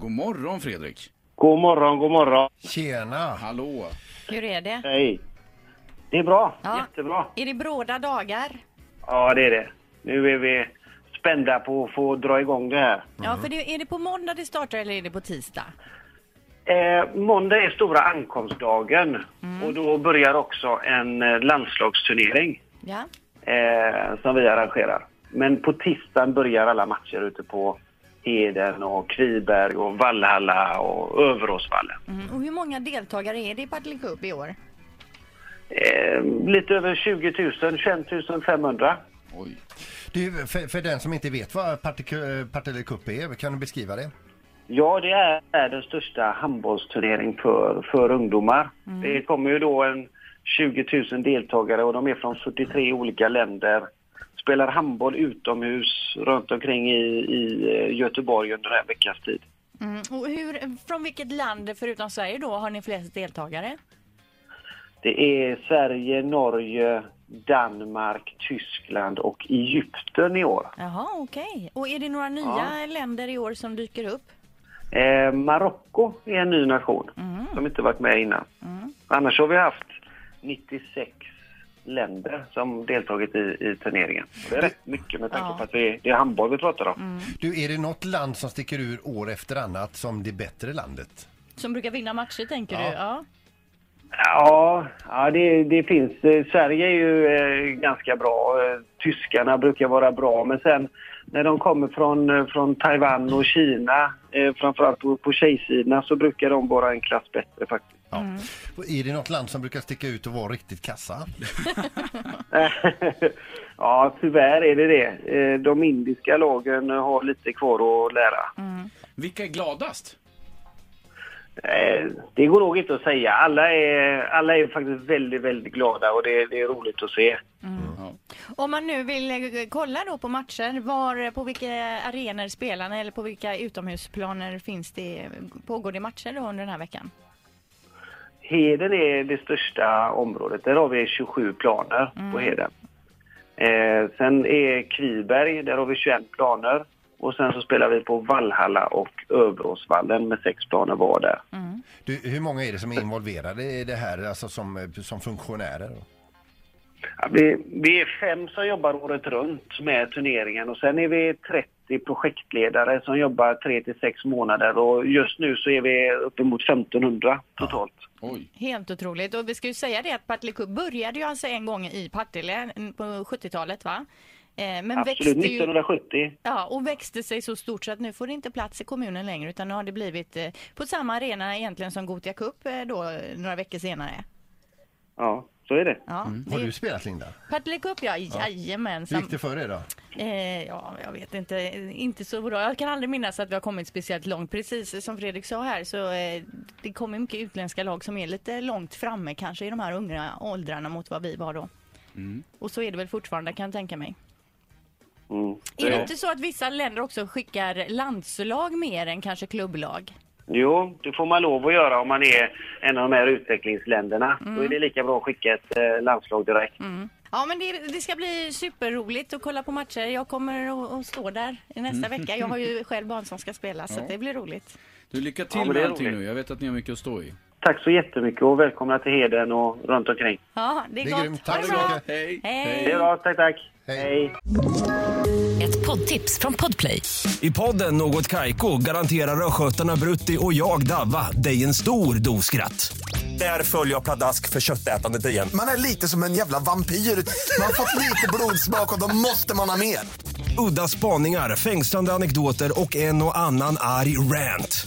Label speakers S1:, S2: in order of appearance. S1: God morgon Fredrik.
S2: God morgon, god morgon.
S3: Tjena!
S1: Hallå.
S4: Hur är det?
S2: Hej. Det är bra.
S4: Ja.
S2: Jättebra.
S4: Är det bråda dagar?
S2: Ja, det är det. Nu är vi spända på att få dra igång det här.
S4: Ja, för det, är det på måndag det startar eller är det på tisdag?
S2: Eh, måndag är stora ankomstdagen och då börjar också en eh, landslagsturnering
S4: Ja.
S2: eh, som vi arrangerar. Men på tisdagen börjar alla matcher ute på Heden och Kviberg och Vallhalla och Överåsvallen.
S4: Mm. Och hur många deltagare är det i Partille Cup i år?
S2: Eh, lite över 20 000, 21 500.
S1: Oj.
S3: Du, för, för den som inte vet vad Partik- Partille Cup är, kan du beskriva det?
S2: Ja, det är, är den största handbollsturnering för, för ungdomar. Det kommer ju då en 20 000 deltagare och de är från 43 olika länder. Spelar handboll utomhus runt omkring i, i eh, Göteborg under en veckas tid.
S4: Mm. Och hur, från vilket land förutom Sverige då har ni flest deltagare?
S2: Det är Sverige, Norge, Danmark, Tyskland och Egypten i år.
S4: Jaha, okej. Och är det några nya länder i år som dyker upp?
S2: Eh, Marocko är en ny nation som inte varit med innan. Annars har vi haft 96 länder som deltagit i, i turneringen. Det är rätt mycket med tanke
S4: Ja.
S2: på att det är, det är handboll vi pratar om.
S3: Du, är det något land som sticker ur år efter annat som det bättre landet?
S4: Som brukar vinna matcher tänker du? Ja.
S2: Ja, ja det, det finns. eh, Sverige är ju eh, ganska bra. Eh, Tyskarna brukar vara bra. Men sen när de kommer från, eh, från Taiwan och Kina, eh, framförallt på, på tjejsidorna, så brukar de vara en klass bättre faktiskt.
S3: Ja.
S4: Mm.
S3: Och Är det något land som brukar sticka ut och vara riktigt kassa?
S2: ja, tyvärr är det det. Eh, De indiska lagen har lite kvar att lära.
S4: Mm.
S1: Vilka är gladast?
S2: Eh, Det går nog inte att säga. Alla är, alla är faktiskt väldigt, väldigt glada och det, det är roligt att se.
S1: Ja.
S4: Mm. Om man nu vill eh, kolla då på matcher, var, på vilka arenor spelarna eller på vilka utomhusplaner finns det, pågår det matcher då under den här veckan?
S2: Heden är det största området. Där har vi 27 planer på Heden. Eh, sen är Kviberg, där har vi 21 planer. Och sen så spelar vi på Vallhalla och Överåsvallen med sex planer var där.
S4: Mm.
S3: Du, hur många är det som är involverade i det här, alltså som, eh, som funktionärer?
S2: Ja, Vi, vi är fem som jobbar året runt med turneringen och sen är vi 30 projektledare som jobbar tre till sex månader och just nu så är vi uppemot 1500 totalt.
S1: Oj.
S4: Helt otroligt. Och vi ska ju säga det att Partille Cup började ju alltså en gång i Partille n- på 70-talet va? Eh, Men
S2: Absolut,
S4: växte ju,
S2: 1970.
S4: ja, och växte sig så stort så att nu får det inte plats i kommunen längre utan nu har det blivit eh, på samma arena egentligen som Gothia Cup eh, då eh, några veckor senare.
S2: Ja, så är det.
S4: Ja,
S3: Mm. Har
S4: det-
S3: du spelat Linda?
S4: Partille Cup ja,
S3: Hur
S4: jajamensan.
S3: gick det för er då?
S4: Eh, ja, jag vet inte. Inte så bra. Jag kan aldrig minnas att vi har kommit speciellt långt. Precis som Fredrik sa här så eh, det kommer mycket utländska lag som är lite långt framme kanske i de här unga åldrarna mot vad vi var då.
S3: Mm.
S4: Och så är det väl fortfarande kan jag tänka mig.
S2: Mm.
S4: Är det
S2: Ja.
S4: inte så att vissa länder också skickar landslag mer än kanske klubblag?
S2: Jo, det får man lov att göra om man är en av de här utvecklingsländerna.
S4: Mm.
S2: Då är det lika bra att skicka ett eh, landslag direkt.
S4: Ja men det, det ska bli superroligt att kolla på matcher. Jag kommer att, att stå där nästa vecka. Jag har ju själv barn som ska spela så
S1: Ja.
S4: att det blir roligt.
S1: Du, lycka till
S2: Ja, men det
S1: med
S2: är
S1: allting
S2: roligt.
S1: nu. Jag vet att ni har mycket att stå i.
S2: Tack så jättemycket och välkomna till Heden och runt omkring.
S4: Ja, det är,
S3: Det är
S4: gott.
S3: grymt.
S4: Ha
S3: Tack
S4: det
S3: så
S4: bra.
S3: mycket.
S1: Hej.
S4: Hej.
S2: Det är bra, tack tack.
S3: Hej.
S2: Hej.
S5: Ett poddtips från Podplay.
S6: I podden Något Kaiko garanterar östgötarna Brutti och jag, Davva, dig en stor dos skratt. Där följer jag pladask för köttätandet igen.
S7: Man är lite som en jävla vampyr. Man har fått lite blodsmak och då måste man ha mer.
S6: Udda spaningar, fängslande anekdoter och en och annan arg rant.